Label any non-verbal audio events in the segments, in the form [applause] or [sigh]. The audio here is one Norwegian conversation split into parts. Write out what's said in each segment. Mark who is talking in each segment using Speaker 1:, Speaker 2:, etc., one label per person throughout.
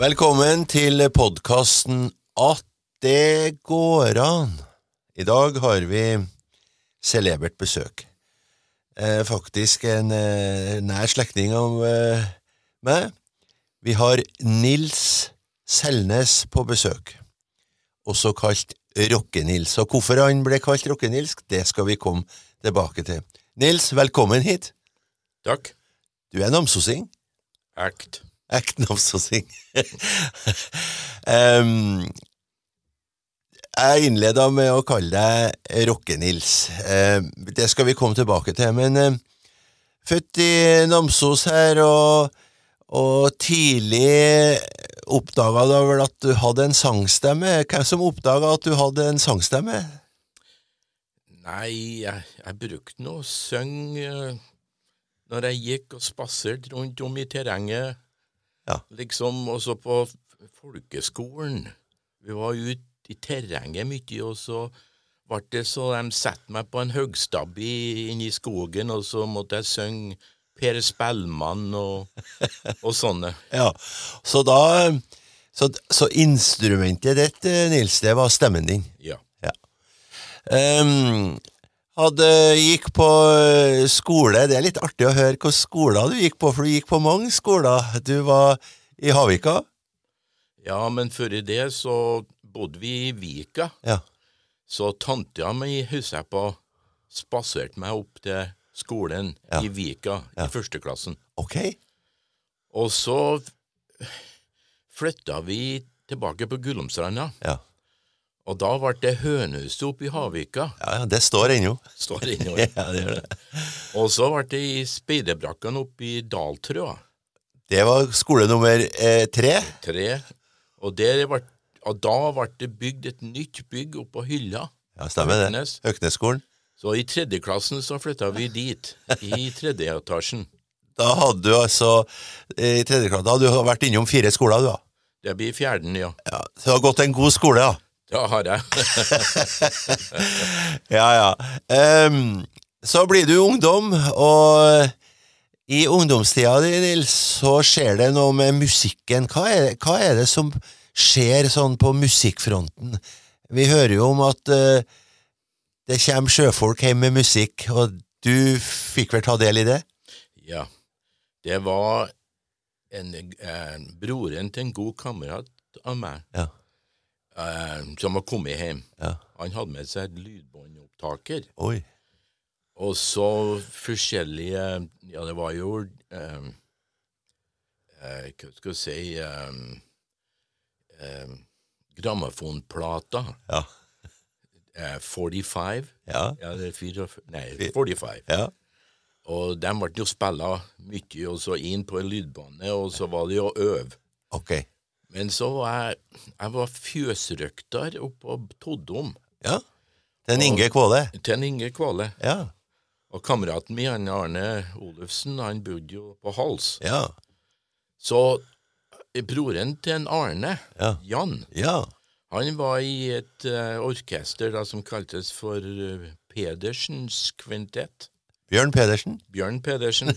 Speaker 1: Velkommen til podkasten At det går an. I dag har vi celebert besøk. Eh, faktisk en eh, nær slektning av eh, meg. Vi har Nils Selnes på besøk, også kalt Rocke-Nils. Og hvorfor han ble kalt Rocke-Nils, det skal vi komme tilbake til. Nils, velkommen hit.
Speaker 2: Takk.
Speaker 1: Du er namsosing.
Speaker 2: Act.
Speaker 1: Ekten av sossing. um, jeg innleda med å kalle deg Rocke-Nils. Eh, det skal vi komme tilbake til. Men eh, født i Namsos her, og, og tidlig oppdaga du vel at du hadde en sangstemme? Hvem som oppdaga at du hadde en sangstemme?
Speaker 2: Nei, jeg, jeg brukte nå å synge eh, når jeg gikk og spaserte rundt om i terrenget.
Speaker 1: Ja.
Speaker 2: Liksom også på f- folkeskolen. Vi var ute i terrenget mye, og så ble det så de satte meg på en høgstabbe i- inne i skogen, og så måtte jeg synge Per Spellmann og, og sånne.
Speaker 1: Ja, Så da Så, så instrumentet ditt, eh, Nils, det var stemmen din?
Speaker 2: Ja.
Speaker 1: Ehm, hadde gikk på eh, skole, det er litt artig å høre hvilke skoler du gikk på, for du gikk på mange skoler. Du var i Havika?
Speaker 2: ja, men før i det så bodde vi i Vika.
Speaker 1: Ja.
Speaker 2: Så tanta mi husker jeg på spaserte meg opp til skolen
Speaker 1: Ja.
Speaker 2: i Vika
Speaker 1: Ja.
Speaker 2: i førsteklassen.
Speaker 1: Ok.
Speaker 2: Og så flytta vi tilbake på Gullomstranda,
Speaker 1: Ja,
Speaker 2: og da ble det hønehuset oppe i Havika.
Speaker 1: ja, ja det står ennå. [laughs]
Speaker 2: Står det innover.
Speaker 1: ja, det gjør det.
Speaker 2: Og så ble det i speiderbrakken oppe i Daltrøa.
Speaker 1: Det var skole nummer eh, tre.
Speaker 2: Tre. Og, der ble, og da ble det bygd et nytt bygg oppe på Hylla.
Speaker 1: Ja, stemmer det.
Speaker 2: Høgnes.
Speaker 1: Høgnesskolen.
Speaker 2: Så i tredjeklassen så flytta vi dit, i tredje etasjen.
Speaker 1: Da hadde du altså eh, I tredje klasse da hadde du vært innom fire skoler, du, da.
Speaker 2: Det blir fjerden, ja.
Speaker 1: Ja, så du har gått en god skole, ja.
Speaker 2: Da har jeg.
Speaker 1: Ja, ja. Ehm, så blir du ungdom, og i ungdomstida di, Nils, så skjer det noe med musikken. Hva er, hva er det som skjer sånn på musikkfronten? Vi hører jo om at eh, det kommer sjøfolk hjem med musikk, og du fikk vel ta del i det?
Speaker 2: Ja. Det var en, eh, broren til en god kamerat av meg
Speaker 1: Ja.
Speaker 2: eh, som var kommet hjem.
Speaker 1: Ja.
Speaker 2: Han hadde med seg et lydbåndopptaker.
Speaker 1: Oi.
Speaker 2: Og så forskjellige Ja, det var jo eh, eh, Hva skal jeg si eh, eh, Grammofonplater.
Speaker 1: Ja.
Speaker 2: Eh, 45.
Speaker 1: Ja.
Speaker 2: Ja, det er 44 Nei,
Speaker 1: Fy-
Speaker 2: 45.
Speaker 1: Ja.
Speaker 2: Og de ble jo spilla mye, og så inn på en lydbane, og så var det jo å øve.
Speaker 1: Ok.
Speaker 2: Men så var jeg, jeg var fjøsrøkter oppe på Toddom
Speaker 1: Ja. Den Inge Kvåle.
Speaker 2: til en Inge Kvale.
Speaker 1: Ja.
Speaker 2: Og kameraten min, han Arne Olufsen, han bodde jo på Hals.
Speaker 1: Ja.
Speaker 2: Så eh, broren til en Arne,
Speaker 1: Ja.
Speaker 2: Jan,
Speaker 1: Ja.
Speaker 2: han var i et eh, orkester da, som kaltes for eh, Pedersens kvintett.
Speaker 1: Bjørn Pedersen.
Speaker 2: Bjørn Pedersen.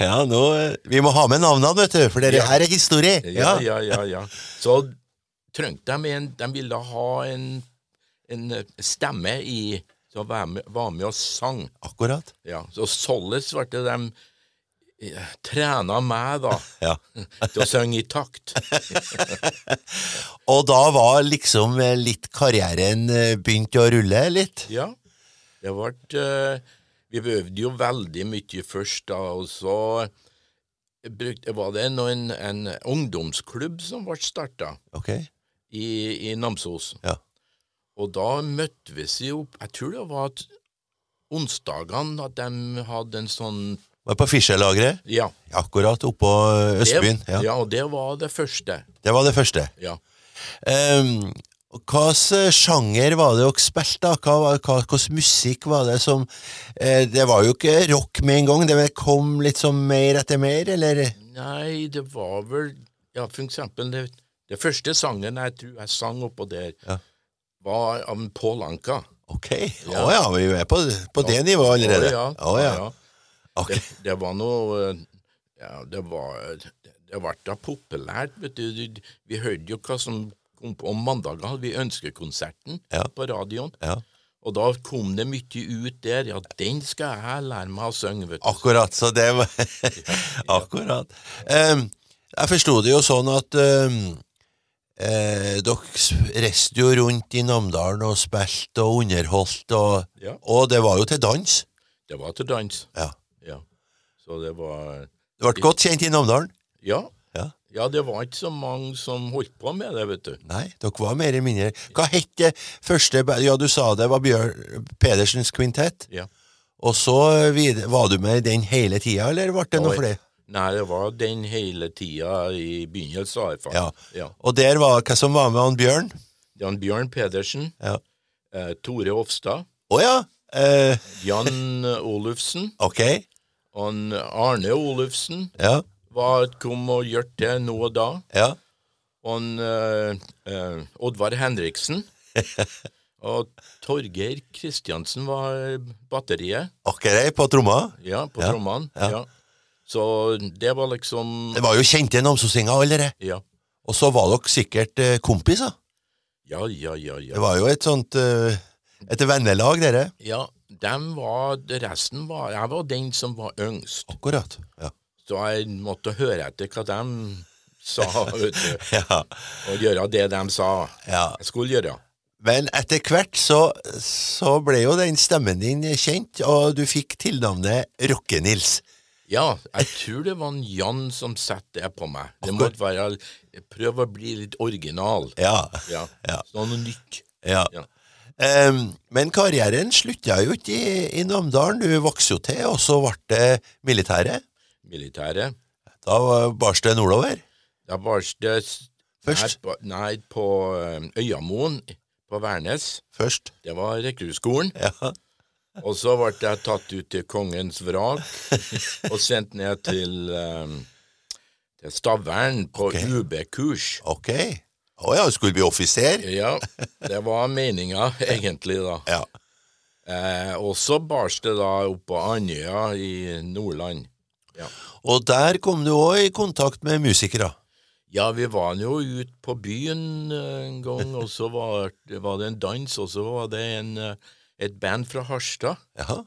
Speaker 1: Ja, nå, eh, Vi må ha med navnene, vet du, for dette
Speaker 2: Ja.
Speaker 1: her er historie.
Speaker 2: Ja, ja, ja, ja. Så trengte de en De ville ha en, en eh, stemme i som var med, var med og sang.
Speaker 1: Akkurat.
Speaker 2: Ja, så således ble det dem eh, trena meg, da,
Speaker 1: Ja.
Speaker 2: til å synge i takt.
Speaker 1: Og da var liksom eh, litt karrieren eh, begynt å rulle litt?
Speaker 2: Ja. Det ble eh, Vi øvde jo veldig mye først, da, og så brukte, var det noen, en ungdomsklubb som ble starta
Speaker 1: Ok.
Speaker 2: i, i Namsos.
Speaker 1: Ja.
Speaker 2: Og da møtte vi seg jo Jeg tror det var at onsdagene at de hadde en sånn
Speaker 1: Var på Fischerlageret,
Speaker 2: Ja.
Speaker 1: akkurat oppå eh,
Speaker 2: det-
Speaker 1: Østbyen. Ja.
Speaker 2: ja, og det var det første.
Speaker 1: Det var det første.
Speaker 2: Ja.
Speaker 1: Um, Hvilken eh, sjanger var det dere spilte? da? Hva, var- hva, hvordan musikk var det som eh, Det var jo ikke rock med en gang, det kom litt sånn mer etter mer, eller?
Speaker 2: Nei, det var vel Ja, for eksempel det, det første sangen jeg tror jeg sang oppå der,
Speaker 1: Ja.
Speaker 2: var av en Paul Anka.
Speaker 1: Ok. Å ja.
Speaker 2: Ja.
Speaker 1: vi er på, på det nivået allerede.
Speaker 2: Å ja.
Speaker 1: Å ja.
Speaker 2: ja, ja.
Speaker 1: Ok.
Speaker 2: Det, det var noe eh, Ja, det var eh, det ble da populært. vet du. Du- Vi hørte jo hva som kom på om mandagen. hadde Vi Ønskekonserten
Speaker 1: Ja.
Speaker 2: på radioen.
Speaker 1: Ja.
Speaker 2: Og da kom det mye ut der. Ja, den skal jeg lære meg å synge, vet du.
Speaker 1: Akkurat, så det var [laughs] Akkurat. Em, jeg forsto det jo sånn at em, eh, dere s- reiste jo rundt i Namdalen og spilte og underholdt, og,
Speaker 2: Ja.
Speaker 1: og det var jo til dans.
Speaker 2: Det var til dans.
Speaker 1: Ja.
Speaker 2: Ja. Så det var
Speaker 1: Du ble godt kjent i Namdalen?
Speaker 2: Ja.
Speaker 1: Ja.
Speaker 2: Ja, det var ikke så mange som holdt på med det, vet du.
Speaker 1: Nei, dere var mer eller mindre Hva het det første ba- Ja, du sa det var Bjørn Pedersens kvintett.
Speaker 2: Ja.
Speaker 1: Og så vid- var du med i den hele tida, eller ble det noe
Speaker 2: Oi.
Speaker 1: flere?
Speaker 2: Nei, det var den hele tida i begynnelsen, i hvert fall.
Speaker 1: Ja.
Speaker 2: ja.
Speaker 1: Og der var hva som var med han Bjørn?
Speaker 2: Jan Bjørn Pedersen,
Speaker 1: Ja.
Speaker 2: eh, Tore Ofstad,
Speaker 1: Å ja! Eh,
Speaker 2: Jan [laughs] Olufsen
Speaker 1: ok.
Speaker 2: og en Arne Olufsen
Speaker 1: Ja.
Speaker 2: var, kom og gjort det nå og da.
Speaker 1: Ja.
Speaker 2: Og en, eh, eh, Oddvar Henriksen.
Speaker 1: [laughs]
Speaker 2: og Torgeir Kristiansen var batteriet,
Speaker 1: Akkurat på tromma.
Speaker 2: ja, på
Speaker 1: Ja,
Speaker 2: trommene.
Speaker 1: ja.
Speaker 2: Ja. Så det var liksom
Speaker 1: Det var jo kjente namsosinger, alle det.
Speaker 2: Ja,
Speaker 1: Og så var dere sikkert eh, kompiser.
Speaker 2: ja, ja, ja. ja.
Speaker 1: Det var jo et sånt eh, Et vennelag, dere.
Speaker 2: Ja, dem var, resten var, jeg var den som var yngst,
Speaker 1: Akkurat. Ja. [laughs]
Speaker 2: så jeg måtte høre etter hva dem sa,
Speaker 1: [laughs]
Speaker 2: vet du,
Speaker 1: ja.
Speaker 2: og gjøre det dem sa
Speaker 1: ja.
Speaker 2: jeg skulle gjøre.
Speaker 1: Men etter hvert så, så ble jo den stemmen din kjent, og du fikk tilnavnet Rocke-Nils.
Speaker 2: Ja, jeg tror det var en Jan som satte det på meg. Det måtte være, prøv å bli litt original.
Speaker 1: Ja.
Speaker 2: Ja,
Speaker 1: Ja.
Speaker 2: sånn noe nytt.
Speaker 1: ja.
Speaker 2: Ja.
Speaker 1: Em, men karrieren slutta jo ikke i, i Namdalen. Du vokste jo til, og så ble det militæret.
Speaker 2: Militæret.
Speaker 1: Da var- bars det nordover.
Speaker 2: Da var det s-
Speaker 1: Først.
Speaker 2: Nei, på, nei, på eh, Øyamoen på Værnes.
Speaker 1: Først.
Speaker 2: Det var rekruttskolen.
Speaker 1: Ja.
Speaker 2: Og så ble jeg tatt ut til kongens vrak og sendt ned til, um, til Stavern på
Speaker 1: Ok.
Speaker 2: UB-kurs.
Speaker 1: Ok. Å ja, du skulle bli offiser?
Speaker 2: Ja, det var meninga, egentlig, da.
Speaker 1: Ja.
Speaker 2: Eh, og så bars det da opp på Andøya i Nordland. Ja.
Speaker 1: Og der kom du òg i kontakt med musikere.
Speaker 2: ja, vi var jo ute på byen eh, en gang, og så var, var det en dans, og så var det en, eh, et band fra Harstad.
Speaker 1: Ja.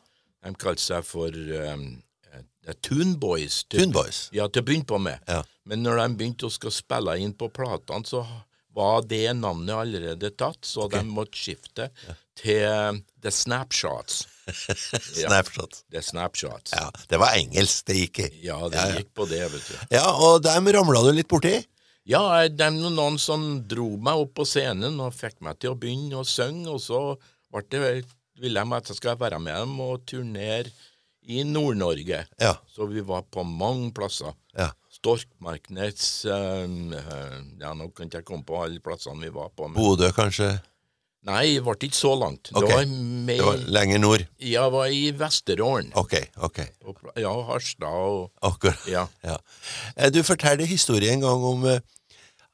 Speaker 2: De kalte seg for um, eh, Toon Boys. til-
Speaker 1: Tune Boys.
Speaker 2: Ja, til å begynne på med.
Speaker 1: Ja.
Speaker 2: Men når de begynte å skal spille inn på platene, så var det navnet allerede tatt, så de måtte skifte til The Snapshots. [laughs]
Speaker 1: Sånn
Speaker 2: Ja.
Speaker 1: Snapshot.
Speaker 2: The Snapshots.
Speaker 1: Ja. Det var engelsk, det gikk i.
Speaker 2: Ja, det gikk på det, vet du.
Speaker 1: Ja, og dem ramla du litt borti?
Speaker 2: Ja, det er noen noen som dro meg opp på scenen og fikk meg til å begynne å synge, og så ble det, ville de at jeg skal være med dem og turnere i Nord-Norge.
Speaker 1: Ja.
Speaker 2: Så vi var på mange plasser.
Speaker 1: ja.
Speaker 2: Storkmarknes ehm, eh, Ja, nå kan ikke jeg komme på alle plassene vi var på. Men...
Speaker 1: Bodø, kanskje?
Speaker 2: Nei, det ble ikke så langt.
Speaker 1: Ok.
Speaker 2: Det var mer
Speaker 1: Det var lenger nord.
Speaker 2: Ja, det var i Vesterålen.
Speaker 1: Ok, ok.
Speaker 2: Og pla- Ja, Harstad og
Speaker 1: Akkurat.
Speaker 2: Ja.
Speaker 1: Ja. Eh, Du fortalte historien en gang om eh,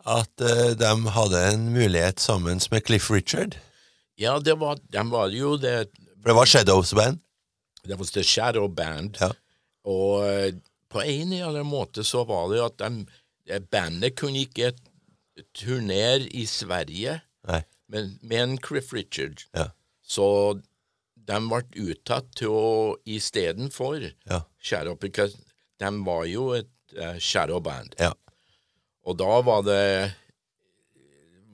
Speaker 1: at eh, de hadde en mulighet sammen med Cliff Richard.
Speaker 2: Ja, det var, de var jo det
Speaker 1: For det var Shadows Band.
Speaker 2: Det var The Shadow Band.
Speaker 1: Ja.
Speaker 2: Og eh, på en eller annen måte så var det jo at de, eh, bandet kunne ikke turnere i Sverige
Speaker 1: Nei.
Speaker 2: men, med en Cliff Richard.
Speaker 1: Ja.
Speaker 2: Så de ble uttatt til å istedenfor
Speaker 1: Ja.
Speaker 2: skjære opp because De var jo et eh, shadow band.
Speaker 1: Ja.
Speaker 2: Og da var det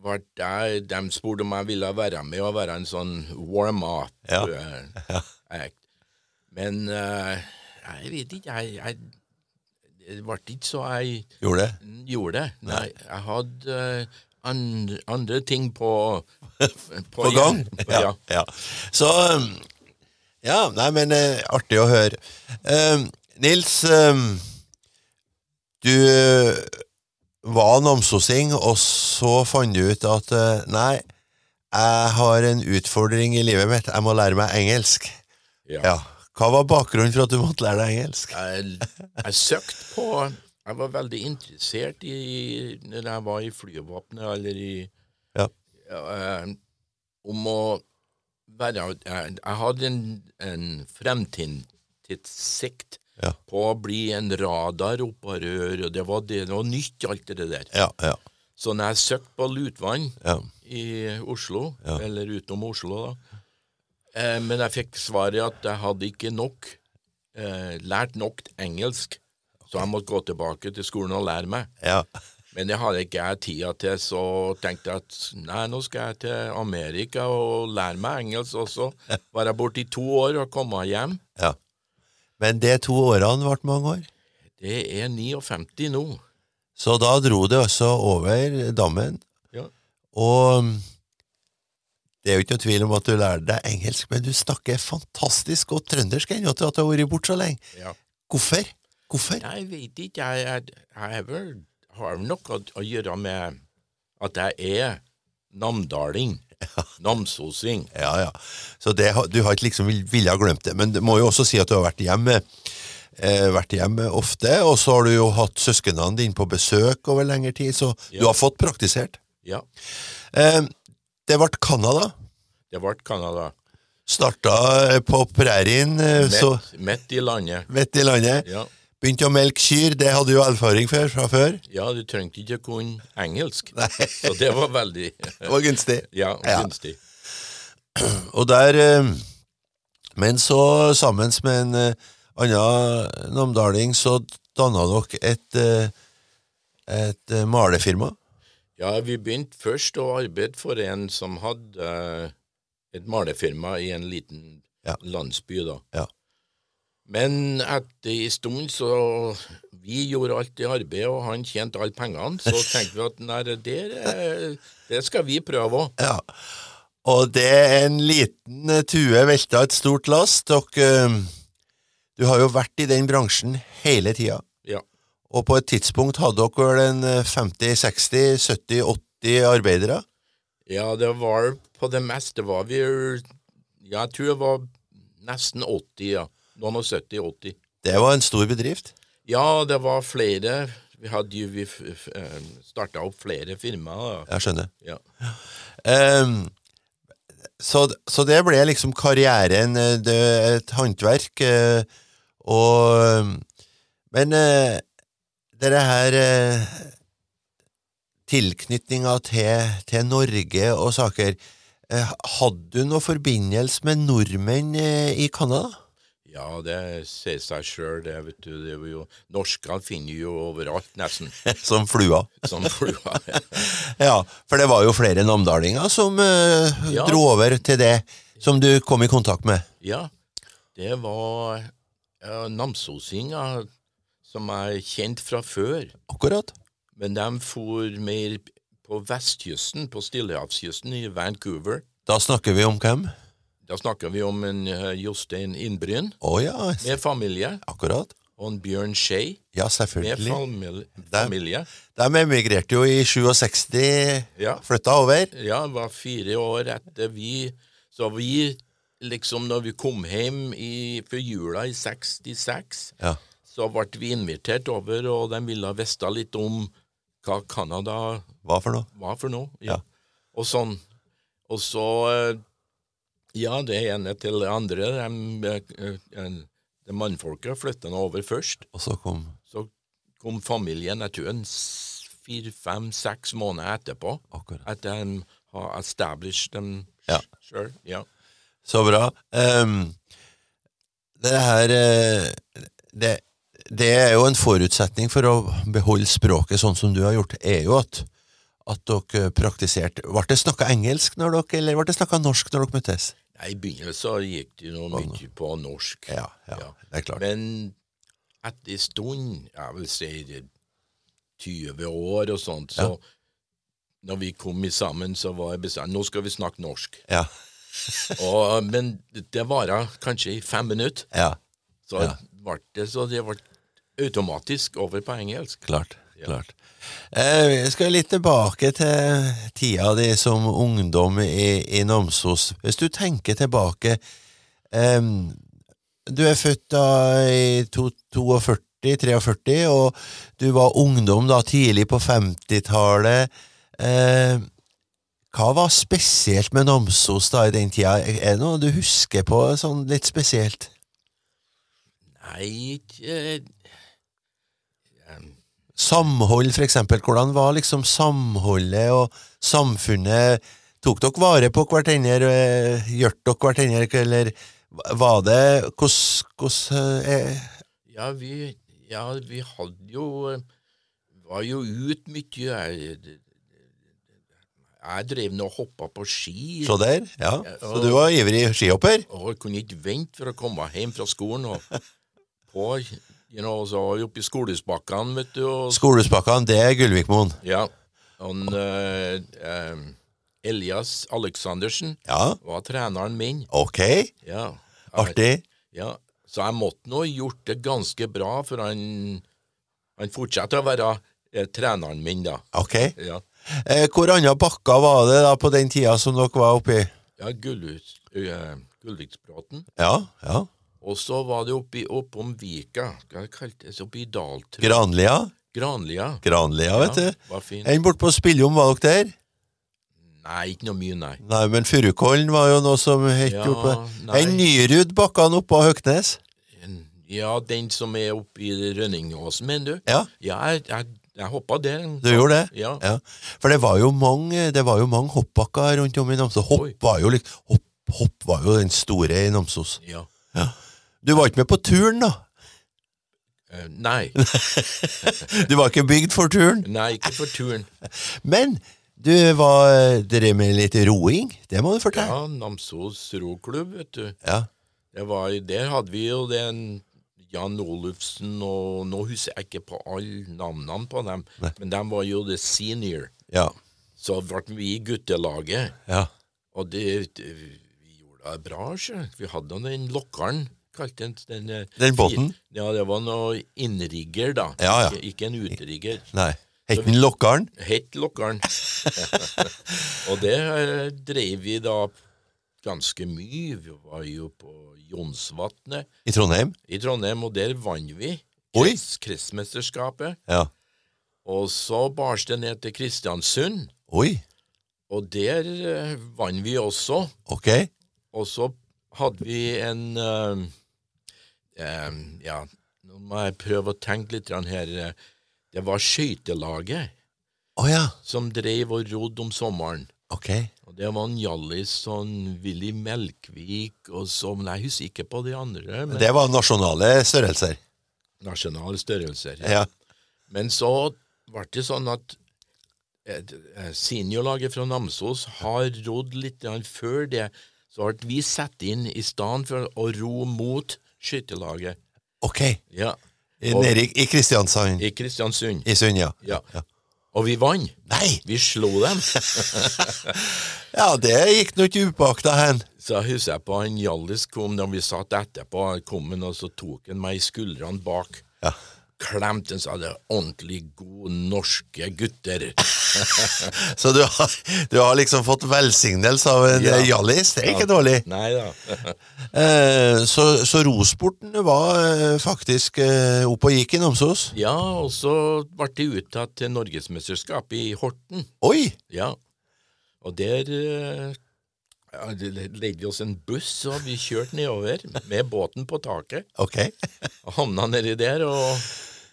Speaker 2: var det, De spurte om jeg ville være med og være en sånn warm-up
Speaker 1: Ja.
Speaker 2: eh, act. Men eh, jeg vet ikke jeg, jeg, Det ble ikke så jeg
Speaker 1: Gjorde det?
Speaker 2: gjorde det. Nei, jeg hadde eh, andre, andre ting på På,
Speaker 1: På gang?
Speaker 2: Ja.
Speaker 1: [laughs] ja. Så um, Ja, nei, men eh, artig å høre. Um, Nils, um, du eh, var namsosing, og så fant du ut at eh, nei, jeg har en utfordring i livet mitt, jeg må lære meg engelsk.
Speaker 2: ja.
Speaker 1: Ja. Hva var bakgrunnen for at du måtte lære deg engelsk?
Speaker 2: jeg, jeg søkte på Jeg var veldig interessert i når jeg var i flyvåpenet eller i
Speaker 1: Ja.
Speaker 2: eh, Om å eh, være Jeg, jeg hadde en, en fremtidssikt
Speaker 1: Ja.
Speaker 2: på å bli en radaropparør, og det var, det, det var nytt, alt det der.
Speaker 1: Ja, ja,
Speaker 2: Så når jeg søkte på Lutvann
Speaker 1: ja.
Speaker 2: i Oslo,
Speaker 1: Ja.
Speaker 2: eller utenom Oslo, da eh, Men jeg fikk svaret at jeg hadde ikke nok eh, lært nok engelsk, så jeg måtte gå tilbake til skolen og lære meg.
Speaker 1: ja.
Speaker 2: Men det hadde ikke jeg tida til, så tenkte jeg at nei, nå skal jeg til Amerika og lære meg engelsk også. Var jeg borte i to år og kom meg hjem.
Speaker 1: ja. Men de to årene ble mange år.
Speaker 2: Det er 59 nå.
Speaker 1: Så da dro det altså over dammen,
Speaker 2: Ja.
Speaker 1: og det er jo ikke noe tvil om at du lærer deg engelsk, men du snakker fantastisk godt trøndersk ennå til at du har vært borte så lenge.
Speaker 2: Ja.
Speaker 1: Hvorfor? Hvorfor?
Speaker 2: Jeg vet ikke, jeg, jeg, jeg er vel- har vel noe å- å gjøre med at jeg er
Speaker 1: [laughs]
Speaker 2: namdaling. Namsosing.
Speaker 1: Ja, ja. Så det, har- du har ikke liksom vil- ville ha glemt det, men du må jo også si at du har vært hjemme, eh, vært hjemme ofte, og så har du jo hatt søskenene dine på besøk over lengre tid, så du
Speaker 2: Ja.
Speaker 1: har fått praktisert.
Speaker 2: Ja,
Speaker 1: Eh, det ble Canada,
Speaker 2: det ble Canada.
Speaker 1: starta eh, på prærien, eh, så
Speaker 2: Midt, midt i landet.
Speaker 1: midt i landet.
Speaker 2: Ja.
Speaker 1: Begynte å melke kyr, det hadde du jo erfaring for fra før.
Speaker 2: ja, du trengte ikke å kunne engelsk. Så det var veldig [laughs]
Speaker 1: Det var gunstig.
Speaker 2: Ja,
Speaker 1: Ja.
Speaker 2: gunstig.
Speaker 1: Og der eh, Men så, sammen med en eh, annen namdaling, så danna dere et eh, et eh, malefirma.
Speaker 2: Ja, vi begynte først å arbeide for en som hadde eh, et malefirma i en liten
Speaker 1: Ja.
Speaker 2: landsby, da.
Speaker 1: Ja.
Speaker 2: Men etter en stund så Vi gjorde alt det arbeidet, og han tjente alle pengene.
Speaker 1: [laughs]
Speaker 2: Så tenkte vi at nei, det der eh, det skal vi prøve òg.
Speaker 1: Ja. Og det er en liten eh, tue velta et stort last. Dere eh, Du har jo vært i den bransjen hele tida,
Speaker 2: Ja.
Speaker 1: og på et tidspunkt hadde dere vel en eh, 50, 60, 70, 80 arbeidere?
Speaker 2: ja, det var på det meste var vi ja, Jeg tror det var nesten 80, ja. Noen og 70-80.
Speaker 1: Det var en stor bedrift.
Speaker 2: Ja, det var flere. Vi hadde jo Vi starta opp flere firmaer. da.
Speaker 1: Jeg skjønner.
Speaker 2: Ja.
Speaker 1: Ehm, så, så det ble liksom karrieren, eh, det, et håndverk, eh, og eh, Men eh, dere her eh, Tilknytninga til, til Norge og saker eh, Hadde du noe forbindelse med nordmenn eh, i Canada?
Speaker 2: Ja, det sier seg sjøl, det, vet du. Det er jo, norskene finner jo overalt, nesten,
Speaker 1: [laughs]
Speaker 2: [laughs]
Speaker 1: Som flua.
Speaker 2: som flua.
Speaker 1: Ja, for det var jo flere namdalinger som eh,
Speaker 2: Ja.
Speaker 1: dro over til det som du kom i kontakt med.
Speaker 2: Ja, det var ja, namsosinga som er kjent fra før,
Speaker 1: Akkurat.
Speaker 2: men de for mer på vestkysten, på Stillehavskysten, i Vancouver.
Speaker 1: Da snakker vi om hvem?
Speaker 2: Da snakker vi om en eh, Jostein Innbryn
Speaker 1: Å ja, s-
Speaker 2: med familie,
Speaker 1: akkurat.
Speaker 2: og en Bjørn Skei
Speaker 1: Ja,
Speaker 2: med
Speaker 1: selvfølgelig.
Speaker 2: famil- familie.
Speaker 1: De emigrerte jo i 67,
Speaker 2: Ja.
Speaker 1: flytta over.
Speaker 2: Ja, det var fire år etter vi Så vi liksom, når vi kom hjem i, før jula i 66,
Speaker 1: Ja.
Speaker 2: så ble vi invitert over, og de ville vite litt om hva Canada
Speaker 1: Hva for noe?
Speaker 2: var for noe.
Speaker 1: Ja.
Speaker 2: Ja. Og sånn. Og så eh, Ja, det ene til det andre. De, eh, eh, de mannfolka flytta nå over først.
Speaker 1: Og så kom
Speaker 2: Så kom familien, jeg tror en s- fire, fem, seks måneder etterpå
Speaker 1: akkurat.
Speaker 2: at de har established dem
Speaker 1: Ja.
Speaker 2: sjøl. Ja.
Speaker 1: Så bra. Ehm, det her eh, det, det er jo en forutsetning for å beholde språket sånn som du har gjort, er jo at at dere praktiserte Ble det snakka engelsk når dere, eller ble det snakka norsk når dere møttes?
Speaker 2: Nei, I begynnelsen så gikk det jo
Speaker 1: Sånn,
Speaker 2: mye på norsk. Ja.
Speaker 1: det er klart.
Speaker 2: Men etter en stund, jeg vil si det 20 år og sånt, så når vi kom i sammen, så var jeg bestemt nå skal vi snakke norsk.
Speaker 1: Ja,
Speaker 2: Og, men det vara kanskje i fem minutter,
Speaker 1: ja,
Speaker 2: så ble det så det ble automatisk over på engelsk.
Speaker 1: klart. klart. Eh, vi skal litt tilbake til tida di som ungdom i, i Namsos. Hvis du tenker tilbake em, Du er født da i to- 42-43, og du var ungdom da tidlig på 50-tallet. Eh, hva var spesielt med Namsos da i den tida? Er det noe du husker på sånn litt spesielt?
Speaker 2: Nei, ikke eh, em,
Speaker 1: Samhold, for eksempel. Hvordan var liksom samholdet og samfunnet? Tok dere vare på hverandre? eh, Hjalp dere hverandre, eller var det Hvordan hvordan, eh,
Speaker 2: Ja, vi, ja, vi hadde jo eh, Var jo ut mye. Jeg, jeg drev nå og hoppa på ski.
Speaker 1: Så der, ja. Så du var ivrig skihopper?
Speaker 2: Og jeg kunne ikke vente for å komme hjem fra skolen.
Speaker 1: [laughs]
Speaker 2: Og på, you know, så var vi oppe i skolesbakkene, vet du. Og,
Speaker 1: Skolespakkene, det er Gullvikmoen.
Speaker 2: ja, han, eh, em, Elias Aleksandersen
Speaker 1: Ja,
Speaker 2: var treneren min.
Speaker 1: ok.
Speaker 2: Ja, jeg-
Speaker 1: Artig.
Speaker 2: Ja, Så jeg måtte nå ha gjort det ganske bra, for han, han fortsetter å være eh, treneren min, da.
Speaker 1: Ok.
Speaker 2: Ja,
Speaker 1: Eh, hvor andre bakker var det da på den tida som dere var oppi?
Speaker 2: ja Gullhus- eh, Gullviksbråten.
Speaker 1: Ja, ja.
Speaker 2: Og så var det oppi, oppom Vika, hva kaltes det, oppi Daltrø...
Speaker 1: Granlia?
Speaker 2: Granlia.
Speaker 1: Granlia, vet
Speaker 2: Ja,
Speaker 1: du.
Speaker 2: var fin.
Speaker 1: Enn borte på Spilljom, var dere der?
Speaker 2: Nei, ikke noe mye, nei.
Speaker 1: Nei, men Furukollen var jo noe som het
Speaker 2: Ja,
Speaker 1: oppe.
Speaker 2: nei.
Speaker 1: Enn Nyrud bakkene oppå Høgnes?
Speaker 2: Ja, den som er oppi Rønningåsen, mener du?
Speaker 1: Ja,
Speaker 2: Ja, jeg, jeg, jeg hoppa der.
Speaker 1: du gjorde det?
Speaker 2: Ja.
Speaker 1: Ja. For det var jo mange, det var jo mange hoppbakker rundt om i Namsos. Hopp
Speaker 2: Oi.
Speaker 1: var jo, lik- hopp, hopp var jo den store i Namsos.
Speaker 2: ja.
Speaker 1: Du var ikke med på turen, da?
Speaker 2: Eh,
Speaker 1: [laughs]
Speaker 2: nei.
Speaker 1: Du var ikke bygd for turen.
Speaker 2: Nei, ikke for turen.
Speaker 1: Men du var, drev med litt roing. Det må du fortelle.
Speaker 2: Ja, Namsos roklubb, vet du.
Speaker 1: Ja.
Speaker 2: Det var, der hadde vi jo den Jan Olufsen og Nå husker jeg ikke på alle navnene på dem,
Speaker 1: Nei.
Speaker 2: men de var jo the senior.
Speaker 1: Ja.
Speaker 2: Så ble vi i guttelaget,
Speaker 1: ja.
Speaker 2: og det, det, vi gjorde det bra. Ikke? Vi hadde nå den lokkeren, kalte den den, eh,
Speaker 1: Den båten?
Speaker 2: fi- Ja, det var noe innrigger, da.
Speaker 1: Ja, ja.
Speaker 2: Ikke, ikke en utrigger.
Speaker 1: Nei. Het den Lokkaren?
Speaker 2: Het lokkeren.
Speaker 1: [laughs]
Speaker 2: og det eh, drev vi da ganske mye. Vi var jo på Jonsvatnet.
Speaker 1: I Trondheim?
Speaker 2: i Trondheim, og der vant vi
Speaker 1: Oi.
Speaker 2: krets- kretsmesterskapet.
Speaker 1: Ja.
Speaker 2: Og så bars det ned til Kristiansund,
Speaker 1: Oi.
Speaker 2: og der eh, vant vi også.
Speaker 1: Ok.
Speaker 2: Og så hadde vi en eh, eh, Ja, nå må jeg prøve å tenke litt grann her. eh, Det var skøytelaget
Speaker 1: Å ja.
Speaker 2: som dreiv og rodde om sommeren.
Speaker 1: Ok.
Speaker 2: Og Det var en Hjallis, sånn Willy Melkvik og så Men jeg husker ikke på de andre. Men
Speaker 1: Det var nasjonale størrelser.
Speaker 2: Nasjonale størrelser.
Speaker 1: Ja.
Speaker 2: Men så ble det sånn at eh, eh, seniorlaget fra Namsos har rodd litt grann før det. Så ble vi satt inn i stedet for å ro mot skytterlaget.
Speaker 1: Ok.
Speaker 2: Ja,
Speaker 1: I- Nede i- i Kristiansand.
Speaker 2: i Kristiansund.
Speaker 1: I Sund, ja.
Speaker 2: Ja. Og vi vant.
Speaker 1: Nei!
Speaker 2: Vi slo dem.
Speaker 1: Ja, det gikk nå ikke upåakta hen.
Speaker 2: Så jeg husker jeg på han Hjallis kom da vi satt etterpå. Han kom han, og så tok han meg i skuldrene bak.
Speaker 1: Ja.
Speaker 2: Klemte han sa det er ordentlig gode norske gutter.
Speaker 1: Så du har, du har liksom fått velsignelse av en
Speaker 2: Ja.
Speaker 1: eh, Hjallis. Det er ikke dårlig.
Speaker 2: Nei da.
Speaker 1: Eh, så, så rosporten var eh, faktisk eh, opp og gikk i Namsos.
Speaker 2: Ja, og så ble det uttatt til norgesmesterskap i Horten.
Speaker 1: Oi!
Speaker 2: Ja. Og der eh, ja, det leide vi oss en buss, og vi kjørte nedover med båten på taket.
Speaker 1: Ok.
Speaker 2: Og havna nedi der, og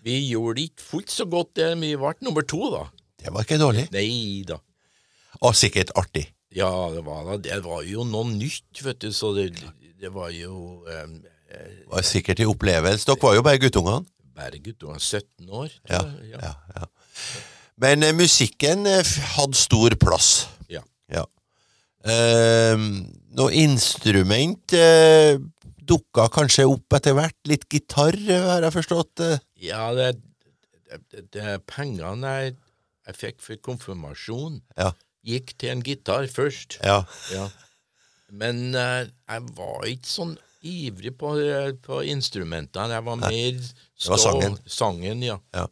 Speaker 2: vi gjorde det ikke fullt så godt der, men vi ble nummer to, da.
Speaker 1: Det var ikke dårlig.
Speaker 2: Nei da.
Speaker 1: Og sikkert artig.
Speaker 2: Ja, det var, da- det var jo noe nytt, vet du, så det, det var jo eh,
Speaker 1: Og sikkert i opplevelse. Dere var jo bare guttungene.
Speaker 2: Bergut, du var 17 år. tror
Speaker 1: Ja,
Speaker 2: jeg.
Speaker 1: ja, ja. Men eh, musikken eh, f- hadde stor plass.
Speaker 2: Ja.
Speaker 1: ja. Eh, noe instrument eh, dukka kanskje opp etter hvert. Litt gitar, eh, har jeg forstått. eh.
Speaker 2: Ja, det, det, det, det pengene jeg, jeg fikk for konfirmasjon,
Speaker 1: Ja.
Speaker 2: gikk til en gitar først.
Speaker 1: Ja.
Speaker 2: Ja. Men eh, jeg var ikke sånn ivrig på, eh, på instrumentene. Jeg var mer stå,
Speaker 1: var sangen.
Speaker 2: Sangen, ja.
Speaker 1: ja.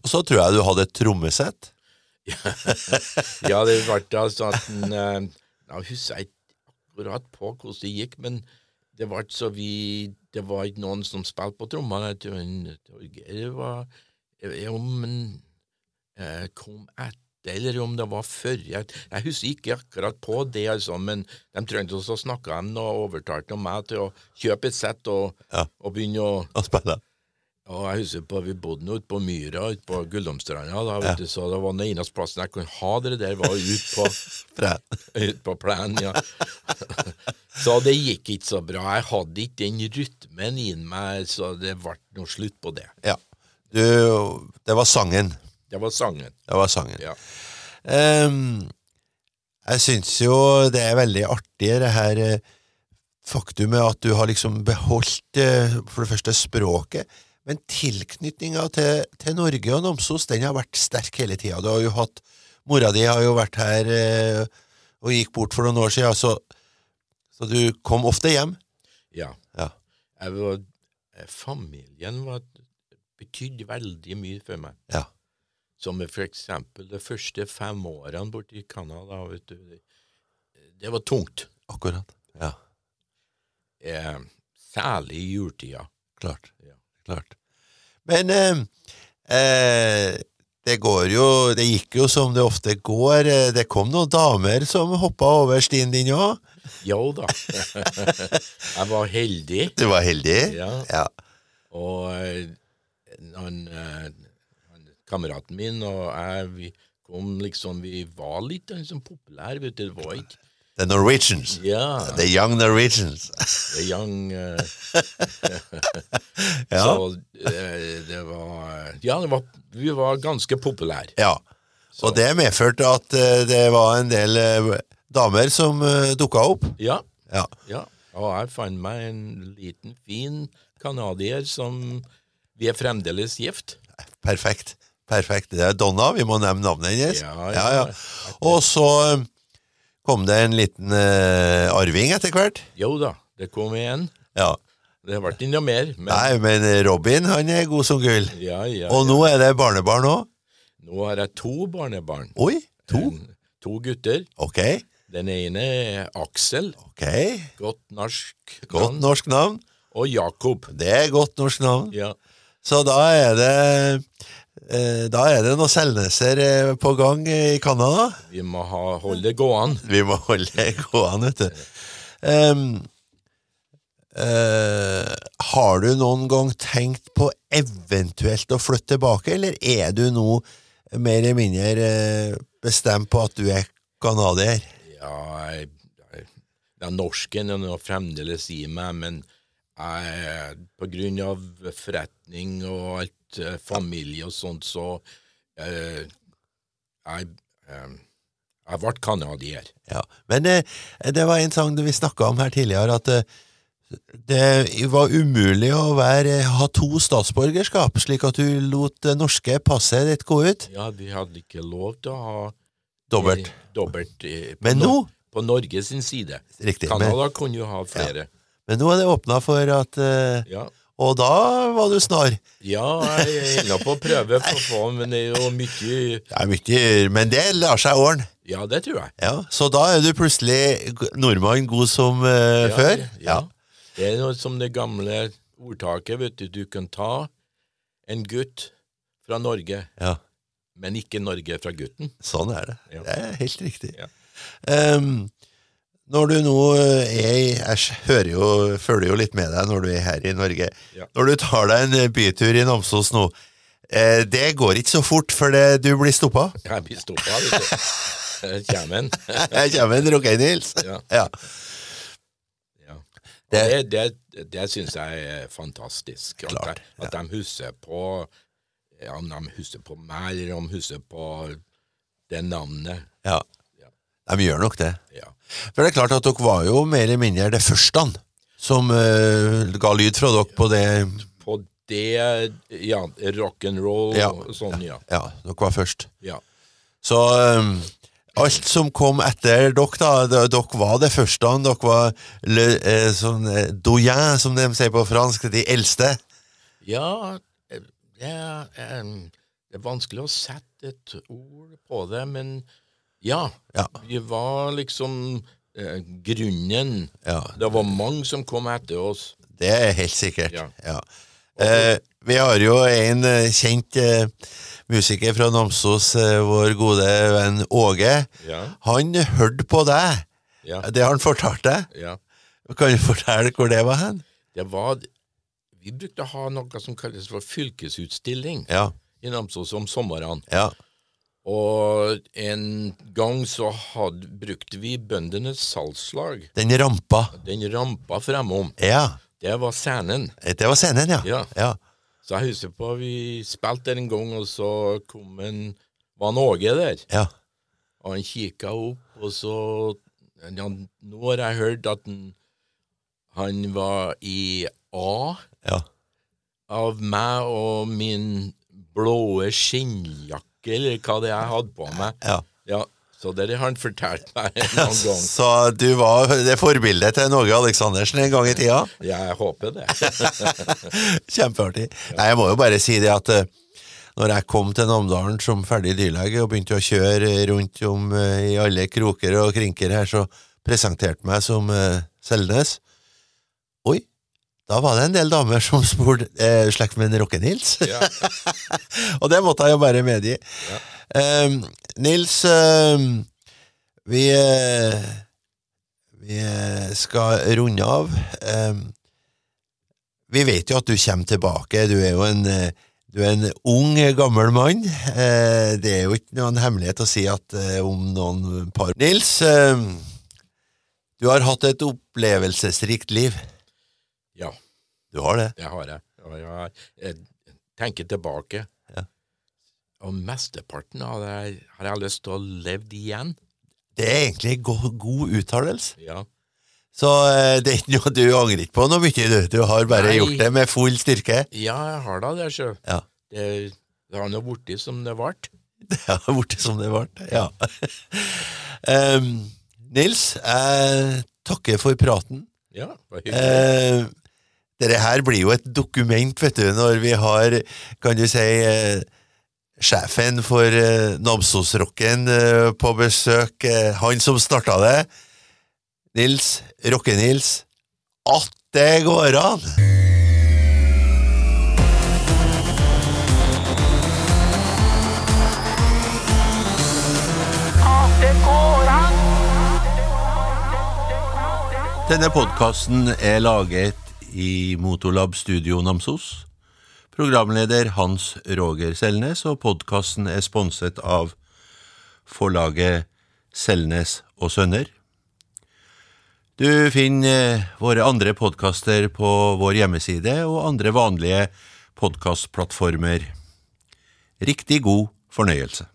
Speaker 1: Og så tror jeg du hadde et trommesett.
Speaker 2: ja, det ble da sånn at en, eh, Jeg husker ikke akkurat på hvordan det gikk, men det ble så vi Det var ikke noen som spilte på trommene. Jeg tror en Torgeir var Jeg vet ikke om han eh, kom etter eller om det var før. Jeg, jeg husker ikke akkurat på det, altså, men de trengte også å snakke om det og overtalte meg til å kjøpe et sett og,
Speaker 1: Ja.
Speaker 2: og begynne å
Speaker 1: å spille.
Speaker 2: og jeg husker på, Vi bodde nå ute på Myra ute på Guldomstranda, da, vet du, så det var den eneste plassen jeg kunne ha det der, var ute på,
Speaker 1: Fra.
Speaker 2: ut på plenen. Ja. [laughs] Så det gikk ikke så bra. Jeg hadde ikke den rytmen i meg, så det ble noe slutt på det.
Speaker 1: Ja. Du, det var sangen.
Speaker 2: Det var sangen.
Speaker 1: Det var sangen.
Speaker 2: ja.
Speaker 1: Ehm, jeg syns jo det er veldig artig, det her eh, faktumet at du har liksom beholdt eh, for det første språket, men tilknytninga til, til Norge og Namsos den har vært sterk hele tida. Du har jo hatt Mora di har jo vært her eh, og gikk bort for noen år siden, så, så du kom ofte hjem.
Speaker 2: Ja.
Speaker 1: Ja.
Speaker 2: Jeg var, eh, familien var, betydde veldig mye for meg.
Speaker 1: Ja.
Speaker 2: Som for eksempel de første fem årene borte i Canada. Vet du, det, det var tungt.
Speaker 1: Akkurat. Ja,
Speaker 2: Eh, særlig i jultida.
Speaker 1: klart.
Speaker 2: Ja.
Speaker 1: klart. Men eh, eh, det går jo Det gikk jo som det ofte går. Eh, Det kom noen damer som hoppa over stien din òg.
Speaker 2: Jo da. [laughs] jeg var heldig.
Speaker 1: Du var heldig.
Speaker 2: Ja.
Speaker 1: Ja.
Speaker 2: Og eh, han, eh, han, kameraten min og jeg, vi kom liksom Vi var litt liksom, populære, vet du. Det var ikke
Speaker 1: The Norwegians.
Speaker 2: Ja.
Speaker 1: The Young
Speaker 2: [laughs]
Speaker 1: Norwegians.
Speaker 2: The young eh,
Speaker 1: [laughs] Ja.
Speaker 2: Så eh, det var Ja, det var, vi var ganske populære.
Speaker 1: ja. Og det medførte at eh, det var en del eh, damer som eh, dukka opp.
Speaker 2: Ja.
Speaker 1: Ja.
Speaker 2: ja. Og jeg fant meg en liten, fin canadier som Vi er fremdeles gift.
Speaker 1: Perfekt. Perfekt. Det er Donna. Vi må nevne navnet hennes.
Speaker 2: Ja,
Speaker 1: ja,
Speaker 2: ja.
Speaker 1: ja. Og så eh, kom det en liten eh, arving etter hvert.
Speaker 2: Jo da, det kom igjen.
Speaker 1: Ja.
Speaker 2: Det ble ikke noe mer. Men
Speaker 1: Nei, men Robin han er god som gull.
Speaker 2: ja, ja.
Speaker 1: Og nå er det barnebarn òg.
Speaker 2: Nå har jeg to barnebarn.
Speaker 1: Oi, to?
Speaker 2: En- To gutter.
Speaker 1: Ok.
Speaker 2: Den ene er Aksel,
Speaker 1: ok.
Speaker 2: godt norsk
Speaker 1: Godt
Speaker 2: navn,
Speaker 1: norsk navn.
Speaker 2: og Jakob.
Speaker 1: Det er godt norsk navn.
Speaker 2: Ja.
Speaker 1: Så da er det eh, da er det noen selneser eh, på gang i Canada.
Speaker 2: Vi må ha, holde det gående.
Speaker 1: Vi må [laughs] holde det gående, vet du. Em, eh, har du noen gang tenkt på eventuelt å flytte tilbake, eller er du nå mer eller mindre eh, bestemt på at du er canadier?
Speaker 2: Ja, jeg, jeg, den norsken er nå fremdeles i meg, men jeg, på grunn av forretning og alt, eh, familie og sånt, så eh, jeg, eh, jeg ble canadier.
Speaker 1: Ja, Men eh, det var en sang vi snakka om her tidligere, at eh, det var umulig å være, ha to statsborgerskap, slik at du lot det norske passet ditt gå ut.
Speaker 2: Ja, vi hadde ikke lov til å ha
Speaker 1: Dobbelt.
Speaker 2: dobbelt eh, på
Speaker 1: Men nå-
Speaker 2: Nor- På Norge sin side.
Speaker 1: Riktig. Men,
Speaker 2: Canada kunne jo ha flere.
Speaker 1: men nå er det åpna for at eh,
Speaker 2: Ja.
Speaker 1: Og da var du snar.
Speaker 2: Ja, jeg er ennå på å prøve for å få, men det er jo
Speaker 1: Det
Speaker 2: mye
Speaker 1: er mye, men det lar seg ordne.
Speaker 2: Ja, det tror jeg.
Speaker 1: Ja, så da er du plutselig g- nordmann god som eh,
Speaker 2: Ja,
Speaker 1: før?
Speaker 2: Ja. Det er noe som det gamle ordtaket, vet du. Du kan ta en gutt fra Norge,
Speaker 1: ja.
Speaker 2: men ikke Norge fra gutten.
Speaker 1: Sånn er det.
Speaker 2: Ja.
Speaker 1: Det er helt riktig.
Speaker 2: Ja.
Speaker 1: Ehm, når du nå eh, er i Jeg s- hører jo, følger jo litt med deg når du er her i Norge.
Speaker 2: Ja.
Speaker 1: Når du tar deg en eh, bytur i Namsos nå, eh, det går ikke så fort, for det, du blir stoppa. [laughs]
Speaker 2: Jeg blir stoppa, vet du. Her kommer han.
Speaker 1: Her kommer en Rogeir Nils.
Speaker 2: [laughs] Ja.
Speaker 1: Ja.
Speaker 2: Ja. Og
Speaker 1: Det-
Speaker 2: Det, det, det syns jeg er fantastisk. At,
Speaker 1: Klart,
Speaker 2: de- at de husker på ja, Om de husker på meg, eller om de husker på det navnet.
Speaker 1: ja. De gjør nok det.
Speaker 2: Ja.
Speaker 1: For det er klart at dere var jo mer eller mindre det første som eh, ga lyd fra dere på det
Speaker 2: På det Ja, rock'n'roll
Speaker 1: Ja.
Speaker 2: og sånn, ja.
Speaker 1: Ja, dere var først.
Speaker 2: ja.
Speaker 1: Så ehm, alt som kom etter dere, da d- Dere var det første, dere var le, eh, sånn eh, doyen, som de sier på fransk, de eldste.
Speaker 2: Ja, eh, det er, em, det er vanskelig å sette et ord på det, men ja.
Speaker 1: Ja.
Speaker 2: Vi var liksom eh, grunnen.
Speaker 1: Ja,
Speaker 2: Det var mange som kom etter oss.
Speaker 1: det er helt sikkert.
Speaker 2: Ja.
Speaker 1: Ja.
Speaker 2: Og
Speaker 1: Eh, vi har jo en eh, kjent eh, musiker fra Namsos, eh, vår gode venn Åge.
Speaker 2: Ja,
Speaker 1: Han hørte på deg.
Speaker 2: ja,
Speaker 1: Det har han fortalt deg.
Speaker 2: ja.
Speaker 1: Kan du fortelle hvor det var hen?
Speaker 2: Det var Vi brukte å ha noe som kalles for fylkesutstilling
Speaker 1: Ja,
Speaker 2: i Namsos om sommeren.
Speaker 1: ja,
Speaker 2: Og en gang så hadde, brukte vi Bøndenes Salgslag.
Speaker 1: den rampa.
Speaker 2: Den rampa fremom.
Speaker 1: Ja,
Speaker 2: Det var scenen.
Speaker 1: det var scenen, ja.
Speaker 2: Ja.
Speaker 1: ja.
Speaker 2: Så jeg husker på vi spilte der en gang, og så kom en Var han Åge der?
Speaker 1: ja.
Speaker 2: Og han kikka opp, og så ja, Nå har jeg hørt at han, han var i A
Speaker 1: ja.
Speaker 2: av meg og min blåe skinnjakke, eller hva det er jeg hadde på meg.
Speaker 1: ja.
Speaker 2: Ja, Så det har han fortalt meg en annen gang.
Speaker 1: [laughs] Så du var det forbildet til Norge Aleksandersen en gang i tida?
Speaker 2: Jeg håper det.
Speaker 1: [laughs] Kjempeartig. Nei, jeg må jo bare si det at eh, når jeg kom til Namdalen som ferdig dyrlege og begynte å kjøre eh, rundt om eh, i alle kroker og krinker her, så presenterte meg som eh, Selnes. Oi, da var det en del damer som spurte eh, slekt med en Rokke-Nils.
Speaker 2: Ja.
Speaker 1: [laughs] og det måtte jeg jo bare medgi. Ehm, Nils, ehm, vi, eh, vi eh, skal runde av. Ehm, vi vet jo at du kommer tilbake. Du er jo en, eh, du er en ung, gammel mann. Eh, Det er jo ikke noen hemmelighet å si at eh, om noen par Nils, eh, du har hatt et opplevelsesrikt liv.
Speaker 2: ja,
Speaker 1: Du har det.
Speaker 2: det har jeg. Og jeg, jeg tenker tilbake.
Speaker 1: Ja.
Speaker 2: Og mesteparten av det her har jeg lyst til å leve igjen.
Speaker 1: Det er egentlig go god uttalelse.
Speaker 2: Ja.
Speaker 1: Så eh, det [laughs] er ikke noe du angrer ikke på noe mye, du. Du har bare
Speaker 2: Nei.
Speaker 1: gjort det med full styrke. [laughs]
Speaker 2: Ja, jeg har da det, sjø.
Speaker 1: Ja.
Speaker 2: Det, det har nå blitt som det ble.
Speaker 1: Det har blitt som det ble. Ja. [laughs] Em, Nils, jeg takker for praten.
Speaker 2: Ja, det var hyggelig.
Speaker 1: Eh, dette her blir jo et dokument, vet du, når vi har, kan du si, eh, sjefen for eh, Namsos-rocken eh, på besøk, eh, han som starta det, Nils, Rocke-Nils, at det går an! Denne podkasten er laget i Motolab Studio Namsos. Programleder Hans Roger Selnes, og podkasten er sponset av forlaget Selnes og Sønner. Du finner eh, våre andre podkaster på vår hjemmeside og andre vanlige podkastplattformer. Riktig god fornøyelse.